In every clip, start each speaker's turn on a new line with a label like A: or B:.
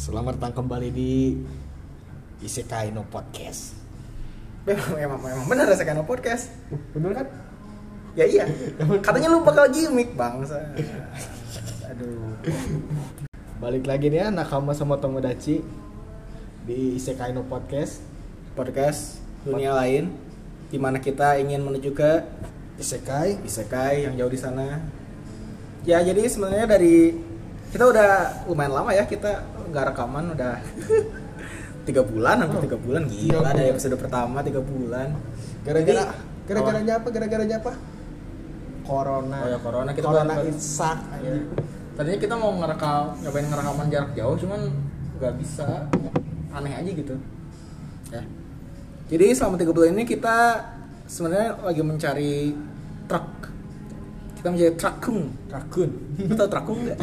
A: Selamat datang kembali di Isekai no Podcast.
B: Memang, emang, emang benar rasa Kano podcast.
A: Bener kan?
B: Ya iya. Katanya lu bakal gimmick bangsa. Aduh.
A: Balik lagi nih ya Nakama sama Tomodachi di Isekai no Podcast.
B: Podcast dunia lain di mana kita ingin menuju ke
A: Isekai
B: isekai yang jauh di sana. Ya jadi sebenarnya dari kita udah lumayan lama ya kita nggak rekaman udah tiga bulan hampir tiga bulan
A: Tiga
B: gila ada
A: bulan.
B: episode pertama tiga bulan
A: gara-gara
B: Jadi-
A: gara-garanya apa? Gara-garanya apa? oh. Corona.
B: Oh ya, corona. Kita
A: corona
B: baru-
A: insak.
B: Iya. Tadinya kita mau ngerekam, nyobain ngerekaman jarak jauh, cuman nggak bisa. Aneh aja gitu. Ya. Jadi selama tiga bulan ini kita sebenarnya lagi mencari truk. Kita mencari trakung.
A: Rakun.
B: Lu tau trakung nggak?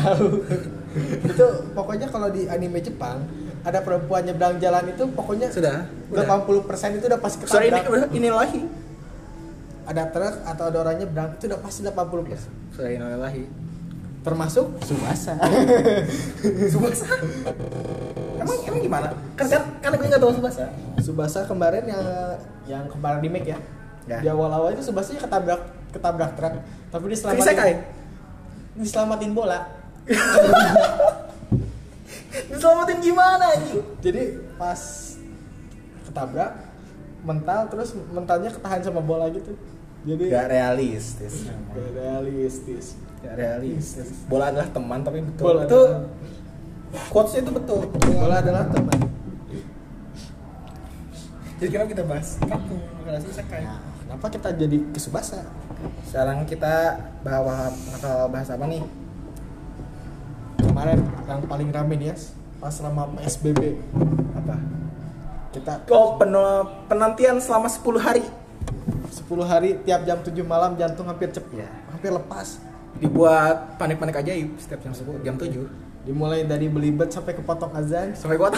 A: itu pokoknya kalau di anime Jepang ada perempuan nyebrang jalan itu pokoknya
B: Sudah. Udah.
A: 80% itu udah pasti
B: Sorry ini,
A: ketabrak.
B: udah, ini lagi.
A: ada truk atau ada orang nyebrang itu udah pasti 80
B: Sorry ini lagi.
A: termasuk Subasa
B: Subasa. Emang emang gimana? Kan kan kan gue nggak tahu Subasa.
A: Subasa kemarin yang yang kemarin di make ya
B: Ya.
A: di awal awal itu Subasa ketabrak ketabrak truk tapi dia
B: Tapi
A: selamatin
B: saya kayak
A: diselamatin bola
B: diselamatin gimana anjing?
A: jadi pas ketabrak mental terus mentalnya ketahan sama bola gitu jadi
B: Gak realistis.
A: gak realistis
B: Ya, realistis. Bola adalah teman tapi betul.
A: Bola
B: itu
A: adalah-
B: quotes itu betul.
A: bola adalah teman
B: Jadi kenapa kita bahas kaku karena susah kayak.
A: nah, kenapa kita jadi ke Subasa
B: Sekarang kita bahas bakal bahas apa nih?
A: kemarin yang paling rame nih ya pas selama PSBB
B: Apa?
A: kita
B: Oh, peno- penantian selama 10 hari
A: 10 hari tiap jam 7 malam jantung hampir cep
B: Iya.
A: hampir lepas
B: dibuat panik-panik ajaib setiap jam 10, jam 7
A: dimulai dari belibet sampai kepotong azan
B: sampai kuat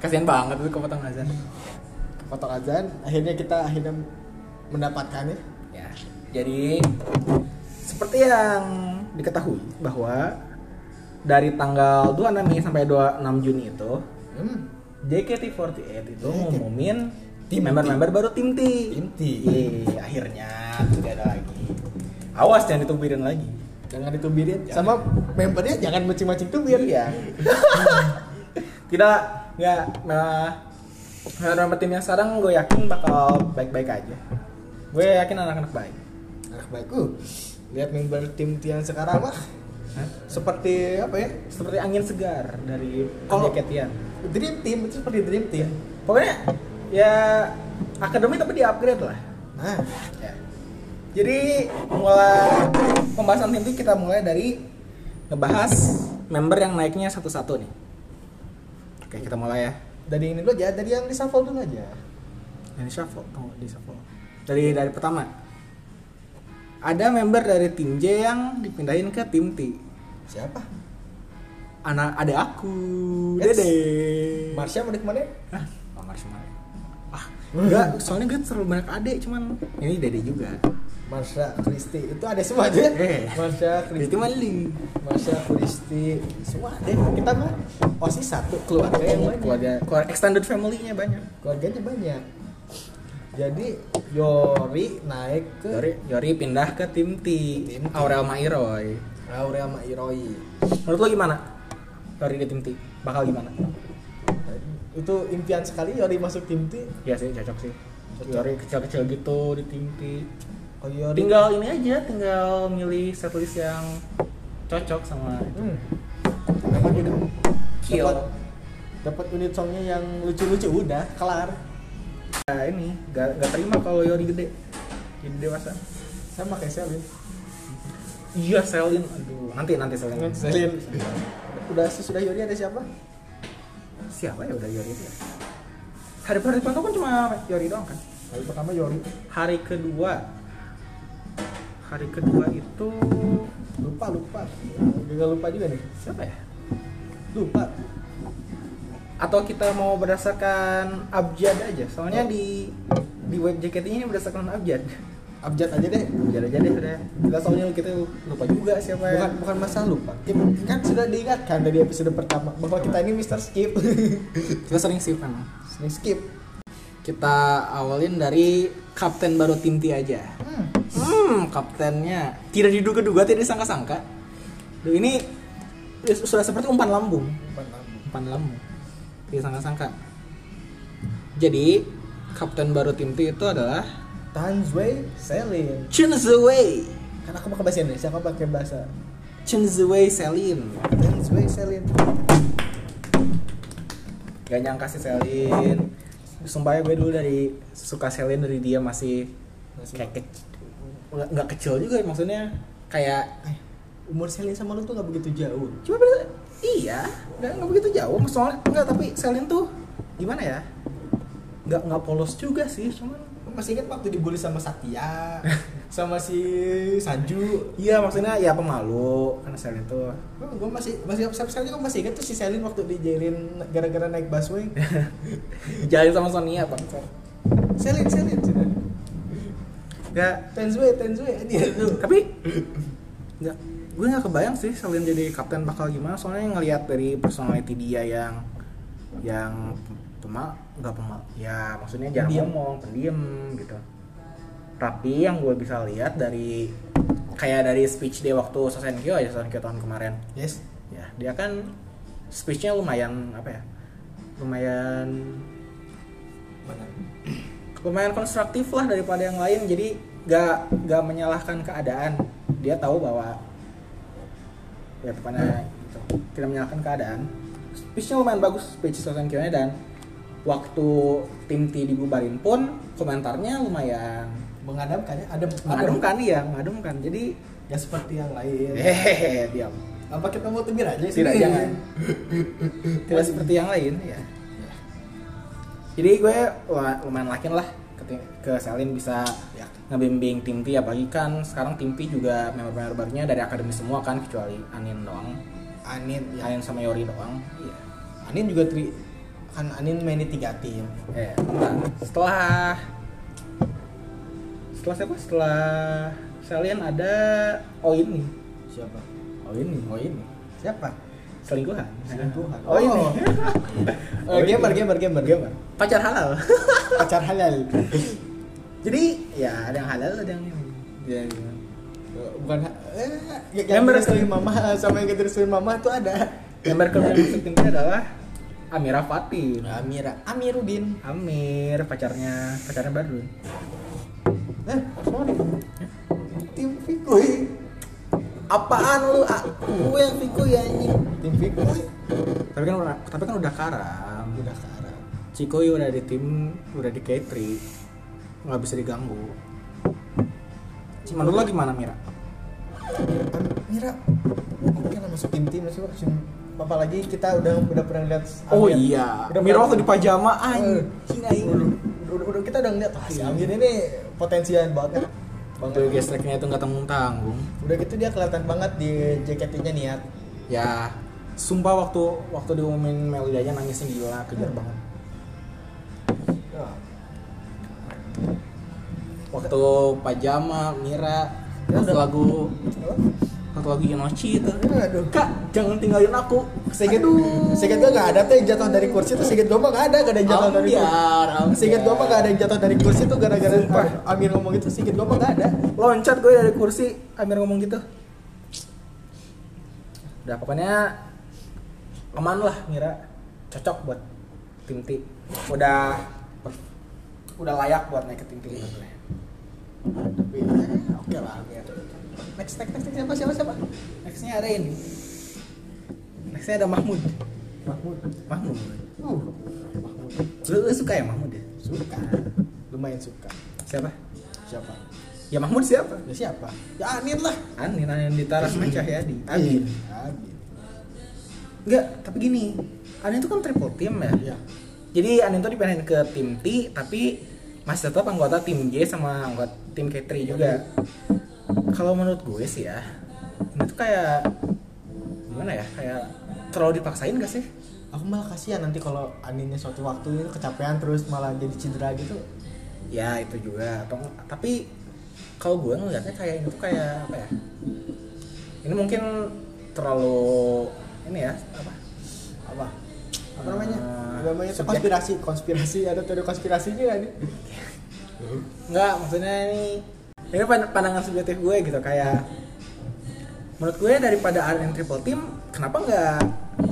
B: kasihan banget tuh kepotong azan
A: kepotong azan akhirnya kita akhirnya mendapatkannya
B: ya jadi seperti yang diketahui bahwa dari tanggal 26 Mei sampai 26 Juni itu
A: hmm.
B: JKT48 itu
A: JKT.
B: ngumumin
A: Tim
B: member-member baru tim T.
A: Tim T.
B: Yeay, akhirnya tidak ada lagi. Awas jangan ditungguin lagi.
A: jangan ditubirin sama membernya jangan macing-macing tubir
B: Iya. tidak nggak nah member tim yang sekarang gue yakin bakal baik-baik aja. Gue yakin anak-anak baik.
A: anak baikku lihat member tim T yang sekarang mah
B: Hah?
A: seperti apa ya
B: Seperti angin segar dari
A: Kalau-
B: JKT-an.
A: dream team itu seperti dream team
B: Pokoknya ya akademi tapi di upgrade lah.
A: nah
B: Ya. Jadi mulai pembahasan tim itu kita mulai dari ngebahas member yang naiknya satu-satu nih. Oke kita mulai ya.
A: dari ini dulu aja dari yang disafol dulu aja
B: Dari shuffle, oh, di shuffle. Dari dari pertama. Ada member dari tim J yang dipindahin ke tim T.
A: siapa
B: Anak ada aku,
A: Eits.
B: Dede.
A: Marsha mau kemana
B: Hah? Oh, Mars Mars. Ah, enggak, soalnya gue terlalu banyak adik, cuman ini Dede juga.
A: Marsha Kristi itu ada semua aja ya?
B: Eh.
A: Marsha
B: Jadi
A: Kristi
B: malu.
A: Marsha Kristi semua ada kita mah osis satu keluarga yang banyak
B: keluarga, keluarga extended family-nya banyak.
A: keluarganya banyak jadi Yori naik ke
B: Yori, Yori pindah ke tim T,
A: Tim T.
B: Aurel Mairoy.
A: Aurel sama Iroi
B: Menurut lo gimana? Yori di tim T, bakal gimana?
A: itu impian sekali Yori masuk tim T
B: Iya sih, cocok sih.
A: Cocok.
B: Yori kecil-kecil gitu di tim T.
A: kalau Oh, Yori
B: Tinggal ini aja, tinggal milih setlist yang cocok sama
A: hmm. dapat unit
B: Kill.
A: dapat dapat unit songnya yang lucu-lucu udah kelar
B: Nah, ini. Gak, gak terima kalau Yori gede, jadi dewasa.
A: sama kayak Selin
B: Iya, Selin. Aduh, nanti nanti Selin.
A: Selin udah sesudah Yori ada siapa
B: Siapa ya udah Yori itu? ya? Hari hari pertama kan cuma Yori doang kan?
A: hari pertama Yori
B: hari kedua hari kedua itu
A: lupa lupa gagal lupa juga nih
B: siapa ya
A: lupa
B: atau kita mau
A: Oh.
B: berdasarkan abjad aja soalnya di di web JKT ini berdasarkan abjad
A: abjad aja deh
C: Jalan aja deh udah.
A: kita soalnya kita
B: lupa juga siapa ya
A: bukan bukan masalah lupa Ya, kan sudah diingatkan dari episode pertama bahwa kita ini Mr. Skip
B: kita sering sih memang
A: sering skip
B: kita awalin dari kapten baru Tinti aja hmm kaptennya tidak diduga-duga tidak disangka-sangka Duh, ini sudah seperti umpan lambung umpan lambung tidak sangka-sangka jadi kapten baru Tinti itu adalah
A: Tanzwei Selin
B: Chen Zewei
A: kan aku pakai bahasa Indonesia aku pakai bahasa
B: Chen Zewei Selin
A: Tanzwei Selin
B: gak nyangka sih Selin sumpah ya gue dulu dari suka Selin dari dia masih kayak kecil nggak nggak kecil juga maksudnya kayak
A: Eh, umur Selin sama lu tuh gak begitu jauh
B: cuma beda iya nggak nggak begitu jauh soalnya nggak tapi Selin tuh gimana ya nggak nggak polos juga sih cuman
A: masih ingat waktu dibully sama Satya sama si Sanju
B: iya maksudnya ya pemalu karena Selin tuh
A: gue masih masih sampai sekarang juga masih ingat tuh si Selin waktu dijailin gara-gara naik busway
B: jalan sama Sonia bang
A: Selin Selin
B: Iya. nggak
A: Tanzwei Tanzwei dia tuh
B: Iya, tapi nggak gue nggak kebayang sih Selin jadi kapten bakal gimana soalnya ngelihat dari personality dia yang yang pemal nggak pemal ya maksudnya jarang
A: Pendiam.
B: ngomong pendiam gitu tapi yang gue bisa lihat dari kayak dari speech dia waktu Sosenkyo aja Sosenkyo tahun kemarin
A: yes
B: ya dia kan speechnya lumayan apa ya lumayan
A: mana
B: lumayan konstruktif lah daripada yang lain jadi gak gak menyalahkan keadaan dia tahu bahwa ya pokoknya itu tidak menyalahkan keadaan speechnya lumayan bagus speech Sosan Kyo-nya dan waktu tim T dibubarin pun komentarnya lumayan
A: mengadamkan ya ada
B: mengademkan ya mengademkan jadi
A: ya seperti yang lain
B: hehehe diam
A: apa kita mau tibir aja sih
B: Eh. tidak jangan
A: iya.
B: tidak seperti yang lain ya jadi gue luma- lumayan lakin lah keti- ke Selin bisa
A: Ya.
B: ngebimbing tim T apalagi kan sekarang tim T juga member-member barunya dari akademi semua kan kecuali Anin doang Iya.
A: Anin ya.
B: Anin sama Yori doang iya
A: Anin juga tri kan Anin mainnya tiga tim
B: eh bentar. setelah setelah siapa setelah Selin ada oh ini
A: siapa
B: oh ini oh ini
A: siapa
B: selingkuhan
A: Selingkuhan.
B: oh, ini
A: Oh.
B: Oh,
A: Eh, gamer gamer gamer gamer
B: pacar halal
A: pacar halal
B: jadi ya ada yang halal ada yang ini Iya, Jadi,
A: bukan ha- eh, yang- yang
B: Member.
A: direstuin mama sama yang gak direstuin mama tuh ada
B: member kerja musik timnya adalah Amira Fatih
A: Amira Amirudin
B: Amir pacarnya pacarnya baru
A: eh sorry tim Fikui
B: apaan lu aku yang Viku ya ini
A: tim Fikui
B: tapi kan udah tapi kan udah karam
A: udah sekarang
B: Ciko udah di tim udah di K3 nggak bisa diganggu Cuma dulu gimana Mira?
A: Kan, Mira, mungkin lah masuk tim tim masuk tim apalagi kita udah udah pernah lihat
B: Oh
A: Amir.
B: iya,
A: udah
B: Mira
A: pernah-
B: waktu di pajama
A: Eh,
B: anjing
A: udah, udah, udah- kita udah ngeliat wah
B: Iya.
A: si Amir ini potensial banget
B: Waktu gesreknya itu nggak tanggung tanggung.
A: udah gitu dia kelihatan banget di JKT-nya niat
B: Ya, sumpah waktu waktu diumumin Melody aja nangisnya gila, kejar banget. Ah.
A: Wah,
B: Waktu pajama, Mira,
A: Ya
B: waktu
A: udah.
B: lagu
A: apa?
B: waktu lagu Yenochi itu.
A: aduh
B: Kak, jangan tinggalin aku.
A: Seinget, seinget gue gak ada tuh yang jatuh dari kursi tuh seinget gue mah gak ada, gak ada yang jatuh dari kursi
B: Ambiar, ambiar.
A: Seinget gue mah gak ada yang jatuh dari kursi tuh gara-gara
B: ya. Sumpah.
A: Amir ngomong itu seinget gue mah gak ada
B: Loncat gue dari kursi, Amir ngomong gitu. Udah pokoknya aman lah Mira. Cocok buat tim T. Udah udah layak buat naik ke tim T.
A: Tapi eh, oke lah Amir Next, next, next, next, siapa, siapa, siapa?
B: Nextnya ada ini. Nextnya ada Mahmud.
A: Mahmud
B: Mahmud.
A: Uh, Mahmud
B: Lu, lu suka ya Mahmud ya?
A: Suka Lumayan suka
B: Siapa?
A: Siapa?
B: Ya Mahmud siapa?
A: Ya siapa? Ya Anin lah
B: Anin, Anin Dita Rahma Cahyadi.
A: Amin
B: Anin.
A: Amin
B: Enggak, tapi gini. Anin itu kan triple team
A: Ya
B: ya. Jadi Anin tuh dipindahin ke tim T tapi masih tetap anggota tim J sama anggota tim K3 juga. Kalau menurut gue sih ya, ini tuh kayak gimana ya? Kayak terlalu dipaksain gak sih?
A: Aku malah kasihan nanti kalau Aninnya suatu waktu itu kecapean terus malah jadi cedera gitu
B: Ya itu juga. Atau, tapi kalau gue ngeliatnya kayak ini tuh kayak apa ya ini mungkin terlalu ini ya apa
A: apa apa namanya
B: Eh,
A: namanya tuh
B: subjek.
A: konspirasi konspirasi ada teori konspirasi juga nih
B: Enggak, maksudnya ini ini pan- pandangan subjektif gue gitu kayak menurut gue daripada RN Triple Team kenapa nggak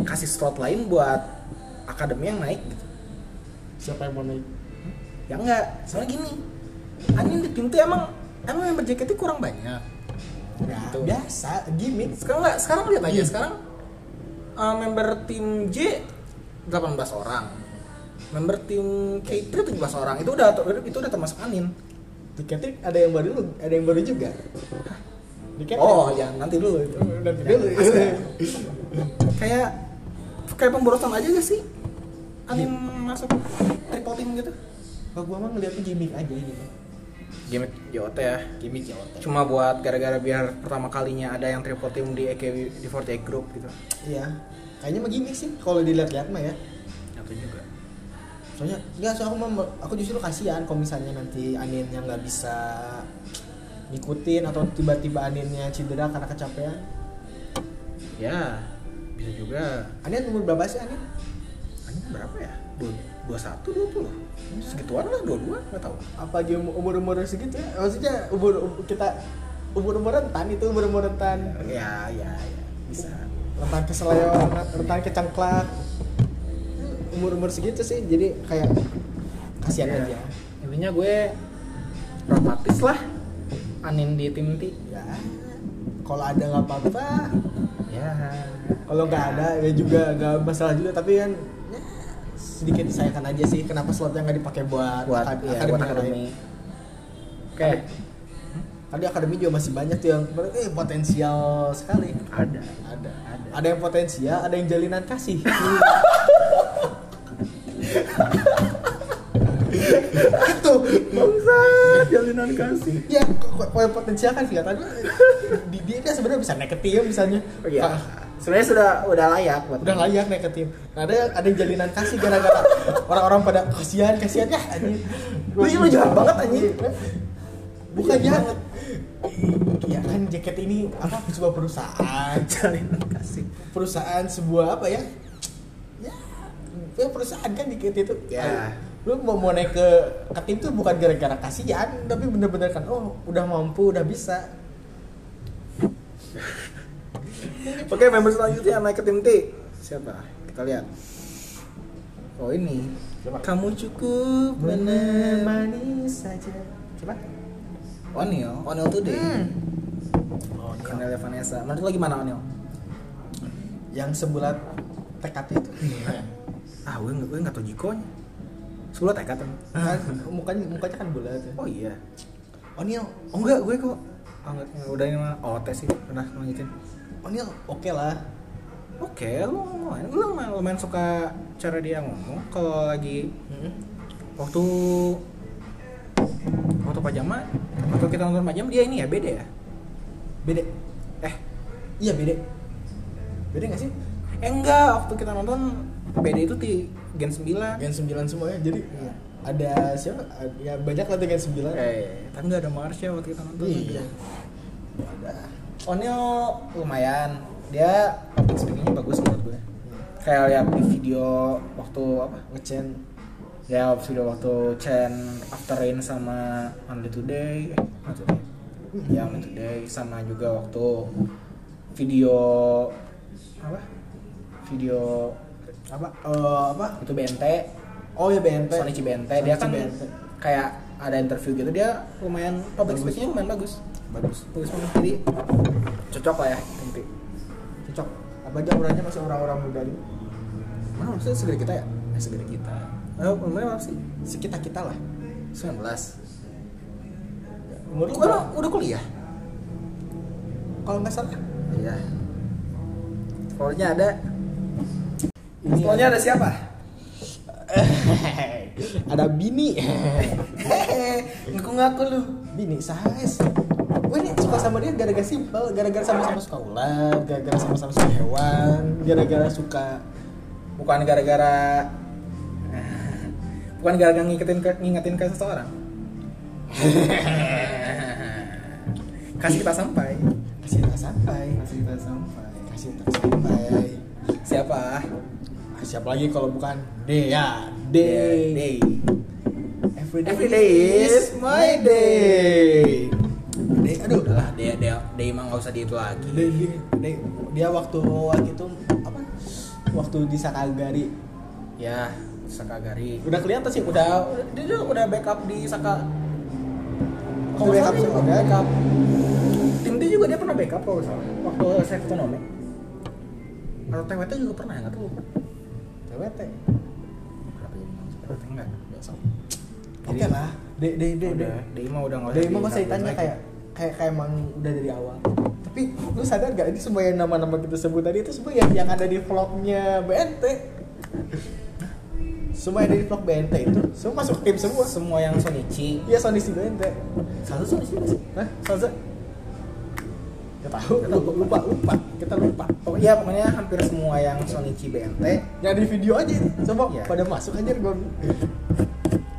B: kasih slot lain buat akademi yang naik gitu.
A: siapa yang mau naik
B: Ya enggak, soalnya gini. Anin di tim tuh emang emang yang berjaket kurang banyak.
A: ya
B: Gitu.
A: biasa gimmick
B: Sekarang enggak, sekarang lihat aja
A: Iya.
B: sekarang uh, member tim J 18 orang. Member tim K3 17 orang. Itu udah itu udah termasuk Anin.
A: tiketnya ada yang baru ada yang baru juga Diketik.
B: Oh, ya nanti dulu itu.
A: nanti dulu
B: kayak kayak pemborosan aja gak sih anim masuk triple team gitu
A: kalau gua mah ngeliatnya gimmick aja ini
B: gimmick JOT ya
A: gimmick ya otak
B: cuma buat gara-gara biar pertama kalinya ada yang triple team di EKW di 48 group gitu
A: iya kayaknya mah gimmick sih kalau dilihat-lihat mah ya
B: itu juga
A: soalnya enggak soalnya aku mah aku justru kasihan kalau misalnya nanti Aninnya nggak bisa ngikutin atau tiba-tiba Aninnya cedera karena kecapean
B: ya bisa juga
A: Anin umur berapa sih Anin?
B: anim berapa ya dua dua satu dua puluh segituan lah dua dua nggak tahu
A: apa aja umur umur segitu ya maksudnya umur um- kita umur umur rentan itu umur umur rentan
B: ya ya ya bisa
A: rentan keseleo rentan kecengklak umur umur segitu sih jadi kayak kasihan
B: Ya.
A: aja
B: intinya gue pragmatis lah anim di tim T
A: ya kalau ada nggak apa apa
B: ya
A: kalau nggak
B: Ya.
A: ada ya juga nggak masalah juga tapi kan ya, sedikit disayangkan aja sih kenapa slotnya nggak dipakai buat,
B: buat
A: akad-
B: ya,
A: akademi
B: buat
A: yang lain.
B: akademi. Oke,
A: tadi akademi juga masih banyak tuh yang eh, potensial sekali
B: ada.
A: ada
B: Ada.
A: ada yang potensial ada yang jalinan kasih itu
B: Bangsa, jalinan kasih.
A: ya kalau yang potensial kan kelihatannya di dia kan sebenarnya bisa naik ke tim misalnya
B: Oh, iya.
A: Ah,
B: Sebenarnya sudah udah layak buat
A: udah layak naik ke tim nah, ada yang- ada yang jalinan kasih gara-gara orang-orang pada kasihan kasihan ya anjing
B: Lu- lu jahat banget, anjing.
A: bukan jahat ya kan jaket ini apa sebuah perusahaan
B: jalinan kasih.
A: perusahaan sebuah apa ya ya, ya perusahaan kan dikit itu
B: Ya.
A: lu mau mau naik ke ke tim tuh bukan gara-gara kasihan tapi bener-bener kan oh udah mampu udah bisa
B: Oke, member selanjutnya yang naik ke tim T. Siapa? Kita lihat. Oh ini.
A: Coba.
B: Kamu cukup menemani.
A: menemani saja coba Hmm.
B: Onil, Onil tuh deh.
A: ya? oh, ini
B: Cornelia Vanessa. Menurut lo gimana Onil?
A: yang sebulat tekad itu
B: Ah, gue nggak gue nggak tau jikonya. Sebelah tekad kan?
A: kan mukanya mukanya kan bulat ya.
B: Oh iya.
A: Onil
B: Oh enggak, gue kok. Oh, enggak, enggak, udah ini mah OT sih, udah lanjutin.
A: Onil oke lah
B: Oke, lu lumayan, lu lumayan, lumayan suka cara dia ngomong kalau lagi
A: Hmm.
B: waktu waktu pajama waktu kita nonton pajama dia ini ya beda ya
A: beda
B: eh
A: iya beda beda nggak sih
B: eh enggak waktu kita nonton beda itu di gen 9
A: Gen 9 semua ya jadi
B: Iya.
A: ada siapa Ada- ya banyak lah tuh Gen 9
B: eh tapi enggak ada Marsha waktu kita nonton
A: Iya.
B: Onil lumayan dia public speakingnya bagus menurut gue kayak lihat di video waktu apa
A: Ngecen
B: ya video waktu Chen After Rain sama Only Today eh, Only Today. ya Only Today sama juga waktu video apa video
A: apa Eh, apa
B: itu BNT
A: oh ya BNT
B: Sonichi BNT dia
A: Sonichi
B: kan
A: BNT.
B: kayak ada interview gitu dia lumayan public
A: Bagus.
B: speaking lumayan bagus
A: bagus
B: bagus banget jadi cocok lah ya nanti
A: cocok apa aja orangnya masih orang-orang muda gitu
B: mana maksudnya segera kita ya eh, segera kita eh umurnya berapa sih
A: sekitar kita lah
B: 19
A: umur
B: Lu
A: lu
B: udah,
A: berapa?
B: udah kuliah
A: kalau nggak salah
B: Iya. Followernya ada.
A: Ini
B: Followernya ada siapa?
A: Eh, ada bini
B: Ngaku-ngaku lu.
A: bini sahes gue nih suka sama dia gara-gara simpel gara-gara sama-sama suka ular gara-gara sama-sama suka hewan gara-gara suka
B: Bukan gara-gara bukan gara-gara ngikutin ke, ngingetin ke seseorang. kasih kita sampai
A: kasih tak sampai
B: kasih kita sampai
A: kasih tak sampai
B: siapa
A: Ah, siapa lagi kalau bukan Dea
B: day
A: Dea every day,
B: Every day is my day.
A: Dea aduh
B: Udah lah, dia dia dia emang nggak usah diet lagi.
A: Dea, Dea, Dea. dia waktu waktu itu apa waktu di Sakagari
B: Ya, Sakagari.
A: udah kelihatan sih udah
B: Udah dia udah, udah backup di Saka.
A: Udah backup
B: Kalau nggak salah dia
A: semua.
B: udah backup. Tim dia juga dia pernah backup kalau nggak salah. Waktu saya ekonomi. Atau TWT juga pernah nggak tahu.
A: TWT
B: Berapa jadi nggak usah TWT enggak? Besok.
A: oke lah Dea Dea Dea
B: Udah,
A: Dea
B: dia mah udah nggak usah.
A: Dea emang saya
B: ditanggulin
A: tanya
B: lagi.
A: kayak kayak kayak emang udah dari awal tapi lu sadar gak ini semua yang nama-nama kita sebut tadi itu semua yang, yang ada di vlognya BNT semua yang ada di vlog BNT itu semua masuk tim semua
B: semua yang Sonichi.
A: Iya Sony si BNT.
B: Satu Sonichi masih.
A: Hah? Saza? Gak tahu. Lupa, lupa, lupa. Kita lupa.
B: Pokoknya, Oh iya, pokoknya hampir semua yang Sonichi BNT
A: Yang di video aja ini. Coba
B: Iya.
A: pada masuk aja gue.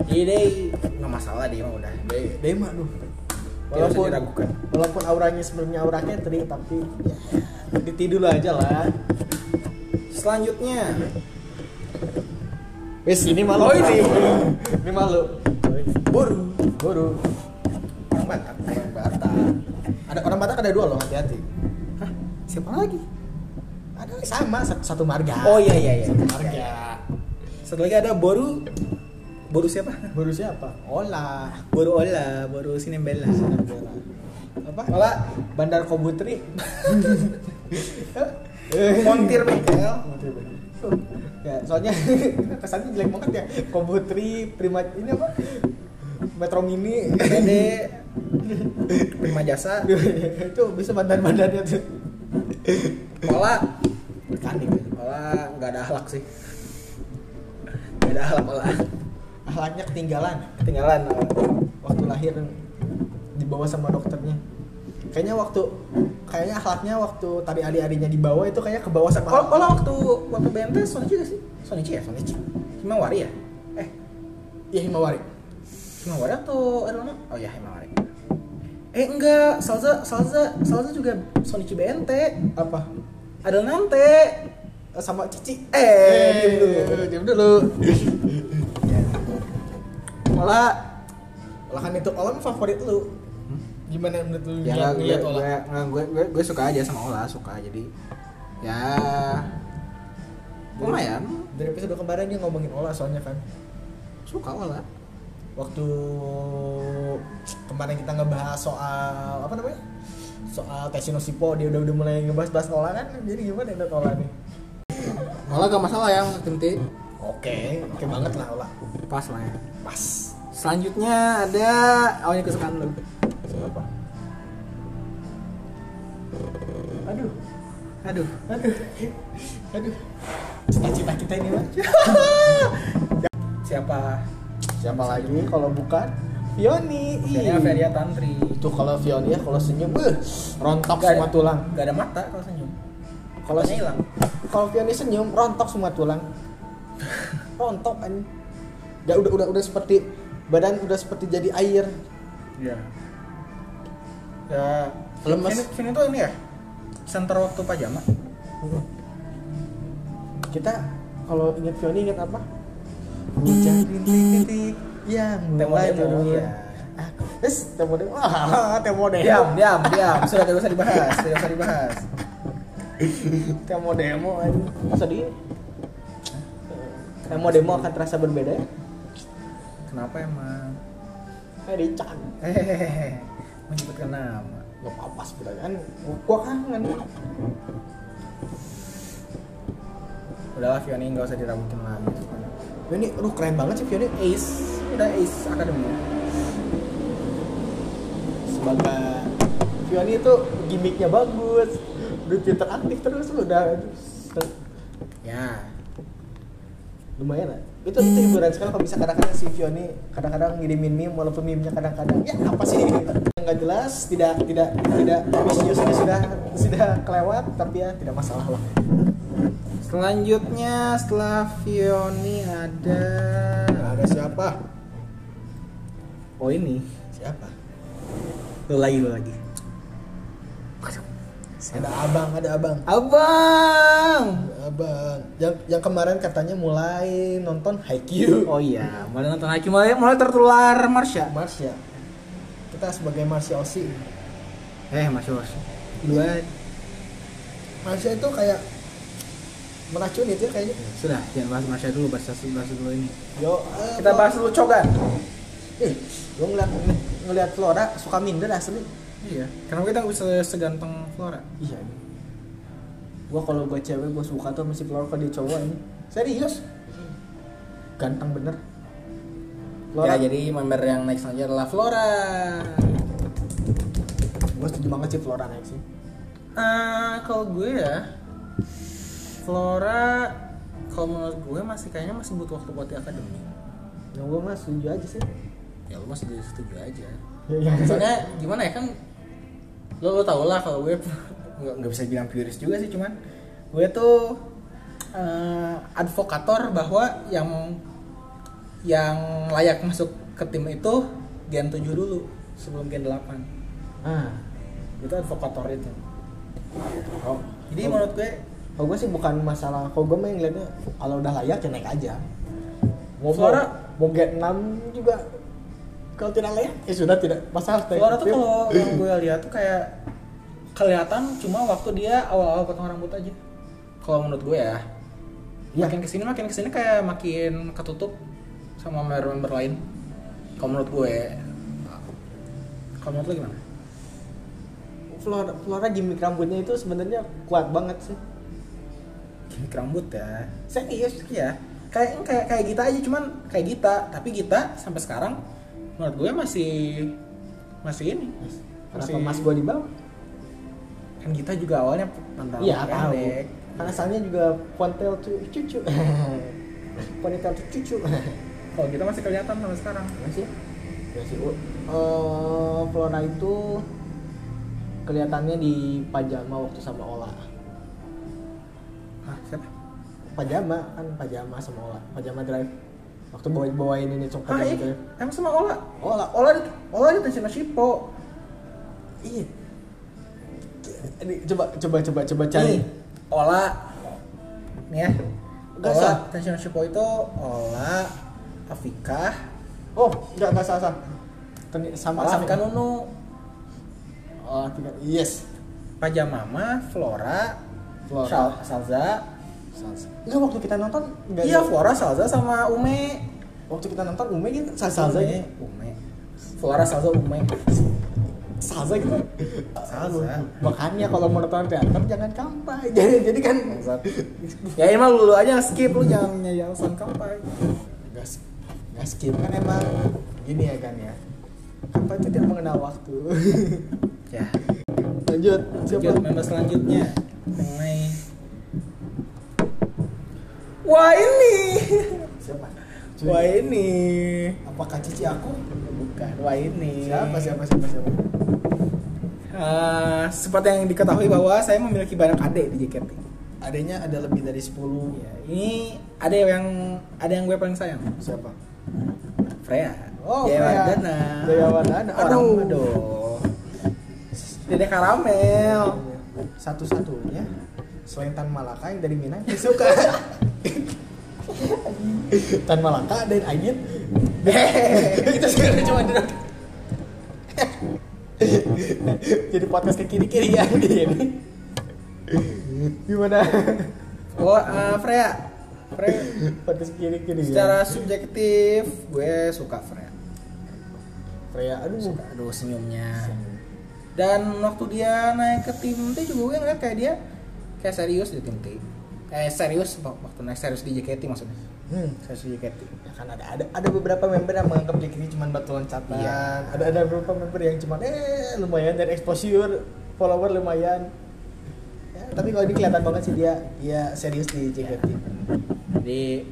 B: Jadi deh nggak masalah deh mah udah.
A: Dema lu.
B: Tidak usah
A: Walaupun
B: diragukan.
A: walaupun auranya sebenarnya aura Catherine tapi ya, ditidur aja lah.
B: Selanjutnya
A: Wes ini malu.
B: Oh, ini.
A: ini malu.
B: Boru
A: Boru.
B: orang Batak. Orang Batak.
A: Ada orang Batak ada dua loh hati-hati.
B: Hah? Siapa lagi?
A: Ada sama satu, satu marga.
B: Oh iya iya iya.
A: Satu marga.
B: Satu lagi ada Boru Boru siapa?
A: Boru siapa? Ola.
B: Boru Ola, Boru Sinembela.
A: Apa?
B: Ola
A: Bandar Kobutri.
B: Montir Bekel.
A: ya, soalnya kesannya jelek banget ya. Kobutri, Prima ini apa? Metro Mini.
B: Dede Prima Jasa.
A: itu bisa bandar-bandarnya tuh.
B: Ola
A: Mekanik.
B: Ola nggak ada akhlak sih. Nggak ada akhlak Ola.
A: Ahlaknya ketinggalan.
B: Ketinggalan. Ola.
A: Waktu lahir dibawa sama dokternya. Kayaknya waktu kayaknya akhlaknya waktu tari ari-arinya dibawa itu kayaknya ke bawah sama
B: Kalau kalau waktu waktu BNT Sonichi gak sih? Sonichi ya, Sonichi. Himawari ya? Eh,
A: Iya Himawari.
B: Himawari atau Erlama? Oh ya, Himawari. Eh enggak, Salza Salza Salza juga Sonichi BNT.
A: Apa?
B: Ada Nante.
A: Sama Cici.
B: Eh, diam dulu. Iya.
A: Diam dulu.
B: Ola
A: Lah kan itu olam favorit lu. Gimana menurut lu ngeliat-
B: ya gue,
A: ngeliat
B: gue,
A: olah?
B: nggak, gue, gue, gue suka aja sama Ola, suka jadi ya lumayan
A: Dari episode kemarin dia ngomongin olah soalnya kan.
B: suka Ola.
A: Waktu kemarin kita ngebahas soal apa namanya? Soal Tessino Sipo dia udah udah mulai ngebahas bahas olah kan. Jadi gimana menurut olah nih?
B: Ola gak masalah ya untuk tim T.
A: Oke, oke banget lah olah.
B: Pas lah ya.
A: Pas.
B: Selanjutnya ada awalnya kesukaan lu.
A: Siapa? Aduh,
B: Aduh.
A: aduh, aduh. Cita-cita kita ini mah.
B: Siapa?
A: Siapa lagi kalau bukan Vioni?
B: Kayaknya Feria Tantri.
A: Tuh kalau Vioni ya kalau senyum, beuh, rontok
B: Gak ada-
A: semua tulang.
B: Gak ada mata kalau senyum.
A: Kalau
B: Kalau hilang.
A: kalau Vioni senyum, rontok semua tulang. rontok anjing. Ya udah udah udah seperti badan udah seperti jadi air.
B: Iya. Ya,
A: Lemes.
B: Vin, Vin itu ini ya? Center waktu pajama.
A: Kita kalau ingat Vioni ingat apa? Hujan rintik-rintik yang
B: Temo
A: mulai
B: demo,
A: turun.
B: iya.
A: Aku, Terus temo demo, ah temo
B: Diam,
A: demo,
B: diam, diam. Sudah tidak usah dibahas, tidak usah dibahas.
A: temo demo, anjing. sedih. Temo demo akan terasa berbeda ya?
B: Kenapa emang?
A: Hari Chan.
B: Hehehe. Menyebutkan nama.
A: Gak apa-apa sebenarnya kan gua kangen.
B: Udahlah Vioni nggak usah diragukan lagi.
A: Ini aduh keren banget sih Vioni
B: Ace, udah Ace Academy.
A: sebagai Vioni itu gimmicknya bagus. Udah Twitter aktif terus udah se-
B: Ya,
A: lumayan lah. Itu itu hiburan sekali kalau bisa kadang-kadang si Vioni kadang-kadang ngirimin meme walaupun meme-nya kadang-kadang ya apa sih nggak jelas tidak tidak tidak ambisiusnya sudah sudah kelewat tapi ya tidak masalah lah.
B: Selanjutnya setelah Vioni ada
A: Nah, ada siapa?
B: Oh ini
A: Siapa?
B: Lu lagi lu lagi
A: Ada abang, ada abang.
B: Abang.
A: Abang. Yang yang kemarin katanya mulai nonton Haikyuu.
B: Oh iya, mulai nonton Haikyuu mulai, mulai tertular Marsha.
A: Oh, Marsha. Kita sebagai Marsha Osi.
B: Eh, Marsha. Marsha.
A: Dua. Marsha itu kayak meracuni dia kayaknya.
B: Sudah, jangan bahas Marsha dulu, bahas bahas dulu ini.
A: Yo, eh,
B: Kita bahas dulu Cogan.
A: Eh, gua ngeliat ngeliat Flora suka minder asli.
B: Iya. Kenapa kita bisa seganteng Flora?
A: Iya. Gua kalau gua cewek gua suka tuh masih Flora kalau dia cowok ini. Serius? Ganteng bener. Flora.
B: Ya, jadi member yang next aja adalah Flora.
A: Gua setuju banget sih Flora naik sih.
B: Eh, kalau gue ya Flora kalau menurut gue masih kayaknya masih butuh waktu buat di akademi.
A: Yang gua mah setuju aja sih.
B: Ya lu masih jadi setuju aja.
A: Ya,
B: Soalnya gimana ya kan lo lo tau lah kalau gue nggak nggak bisa bilang purist juga sih cuman gue tuh eh, advokator bahwa yang yang layak masuk ke tim itu gen 7 dulu sebelum gen 8
A: Ah,
B: itu advokator itu
A: oh.
B: jadi menurut gue
A: Kalau gue sih bukan masalah, kalau gue mah yang ngeliatnya kalau udah layak ya naik aja. Mau
B: Suara-
A: mau, mau get 6 juga kalau tidak layak ya sudah tidak masalah. naik
B: Flora tuh
A: tim.
B: kalau yang gue lihat tuh kayak kelihatan cuma waktu dia awal-awal potong rambut aja kalau menurut gue ya
A: Iya.
B: makin kesini makin kesini kayak makin ketutup sama member-member lain kalau menurut gue kalau menurut lo gimana?
A: Flora, Flora gimmick rambutnya itu sebenarnya kuat banget sih.
B: gimmick rambut ya
A: Serius.
B: iya kayak kayak kayak Gita aja cuman kayak Gita tapi Gita sampai sekarang menurut gue masih masih ini
A: Kenapa mas gue di bawah?
B: kan Gita juga awalnya tentang
A: Iya tahu. Karena asalnya juga pontel tuh cucu. Ponytail tuh cucu.
B: kalau kita masih kelihatan sampai sekarang
A: Masih? Masih. Iya Eh, Flora itu kelihatannya di pajama waktu sama Ola.
B: Hah, Ah, siapa?
A: Pajama kan pajama sama Ola. Pajama drive. Waktu bawain bawain ini gitu ya. cok
B: Hah,
A: pajama
B: iya.
A: drive.
B: Emang sama Ola?
A: Ola.
B: Ola di Ola di Tenshin Shippo.
A: Iya. Ini coba coba coba coba cari.
B: Nih, Ola. Nih ya.
A: Nggak
B: Ola
A: usah.
B: Tenshin Shippo itu Ola Afika.
A: Oh, enggak enggak salah salah. Teni- Kan Sama
B: Ola
A: sama
B: Afika Nunu.
A: Oh, tiga. Yes.
B: Pajamama, Flora,
A: Flora.
B: Sal- Salza.
A: Enggak waktu kita nonton enggak
B: Iya,
A: ada-
B: Flora, Salza sama Ume.
A: Waktu kita nonton Ume gitu
B: Ah,
A: Salsa gitu.
B: Ume, Ume. Flora, Salza, Ume.
A: Salsa gitu.
B: Salsa.
A: Makanya kalau mau nonton teater jangan kampai. Jadi jadi kan
B: ya emang lu, lu aja skip lu jangan nyari alasan kampai.
A: gas gas skip kan emang gini ya kan ya. Kampai itu tidak mengenal waktu.
B: Ya.
A: Lanjut. Siapa?
B: Lanjut member selanjutnya mengenai Wah ini
A: Siapa? Cuy.
B: Wah ini
A: Apakah cici aku?
B: Bukan Wah ini
A: Siapa siapa siapa siapa?
B: Eh, Seperti yang diketahui bahwa saya memiliki banyak adik di JKT
A: Adanya ada lebih dari 10
B: ya, Ini ada yang ada yang gue paling sayang
A: Siapa?
B: Freya
A: Oh,
B: Jayawardana
A: Freya. Jayawardana.
B: Orang
A: Aduh.
B: Aduh Dede Karamel
A: Satu-satunya selain Tan Malaka yang dari Minang dia suka. Tan Malaka dan Aidit. Eh, Kita sekarang cuma duduk. Jadi podcast ke kiri-kiri ya ini. Gimana?
B: Oh eh, Freya Freya
A: podcast kiri-kiri
B: Secara subjektif gue suka Freya
A: Freya aduh.
B: suka aduh senyumnya dan waktu dia naik ke tim T juga gue ngeliat kayak dia kayak serius di tim T eh serius waktu naik serius di JKT maksudnya
A: Hmm.
B: serius di JKT
A: Ya kan ada ada ada beberapa member yang menganggap diri ini cuma batu loncatan.
B: Iya.
A: Ada ada beberapa member yang cuma eh lumayan dari exposure follower lumayan. Ya, tapi kalau ini kelihatan banget sih dia dia serius di JKT.
B: jadi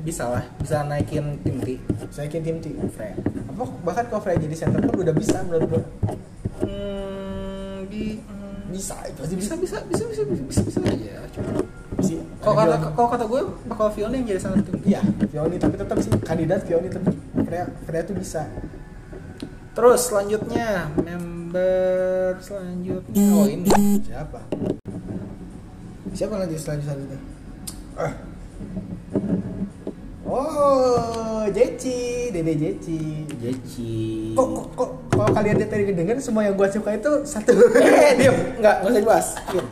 B: bisa lah bisa naikin tim T
A: Saya yakin tim T.
B: Freya
A: Apa bahkan kalau Freya jadi center pun udah bisa menurut gua.
B: hmm, bi- hmm,
A: Bisa, itu pasti bisa.
B: bisa bisa bisa bisa bisa bisa bisa aja cuma
A: Bisa.
B: kalau
A: Ada
B: kata
A: Vioni.
B: kalau kata gue bakal Fiona yang jadi sangat tim T
A: iya, Vioni tapi tetap sih kandidat Vioni tapi Freya Freya tuh bisa.
B: terus selanjutnya member kabar selanjutnya oh ini
A: Siapa? Siapa lanjut selanjut selanjutnya? Ah. Oh, Jeci, Dede Jeci.
B: Jeci
A: Kok, kok, kok kalau kalian tadi kedengeran semua yang gua suka itu satu. Eh, diam, enggak, enggak usah dibahas. Diam.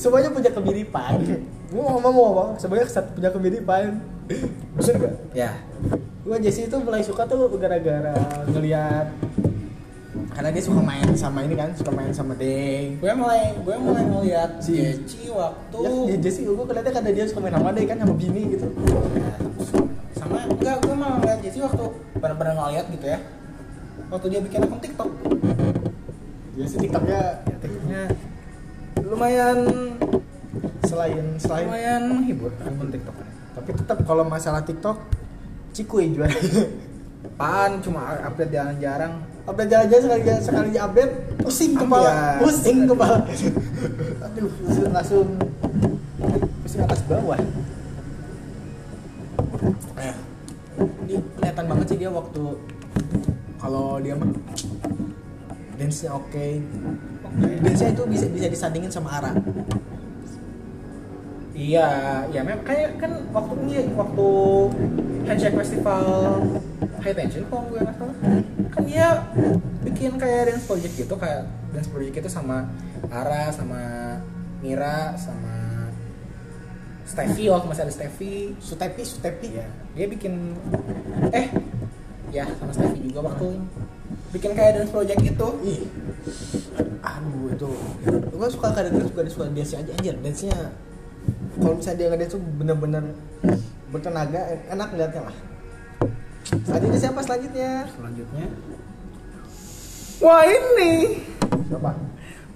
A: Semuanya punya kemiripan. Gua mau ngomong mau ngomong, semuanya satu punya kemiripan. Bener enggak?
B: ya
A: Gua Jesse itu mulai suka tuh gara-gara ngeliat karena dia suka main sama ini kan, suka main sama Deng.
B: gue mulai gue mulai ngeliat
A: Si-
B: Jeci waktu
A: Ya, ya Jesse gue keliatnya karena dia suka main sama deh kan sama bini gitu.
B: iya, sama enggak gue malah ngeliat Jesse waktu benar-benar ngeliat gitu ya waktu dia bikin akun TikTok
A: Jesse TikToknya Iya.
B: ya lumayan
A: selain selain
B: lumayan menghibur akun TikTok
A: tapi tetap kalau masalah TikTok Cikui juara.
B: apaan cuma update jarang-jarang
A: update jalan-jalan sekali sekali di update pusing kepala,
B: Iya.
A: pusing kepala. Aduh, langsung pusing atas bawah.
B: eh dia kelihatan banget sih dia waktu
A: Kalau dia mah dance-nya oke.
B: Oke.
A: Dance-nya itu bisa bisa disandingin sama Ara.
B: iya iya memang kayak kan waktu ini waktu handshake festival high tension kalau gue nggak salah kan dia bikin kayak dance project gitu kayak dance project itu sama Ara sama Mira sama Steffi waktu masih ada Steffi
A: Sutepi, Sutepi.
B: Iya, dia bikin eh ya sama Steffi juga waktu bikin kayak dance project gitu.
A: Ih.
B: itu
A: Aduh itu. Gue suka kadang-kadang suka suka dance aja anjir. Dance-nya kalau misalnya dia ngedance tuh bener-bener bertenaga, enak ngeliatnya lah. Selanjutnya siapa selanjutnya?
B: selanjutnya wah ini
A: Siapa?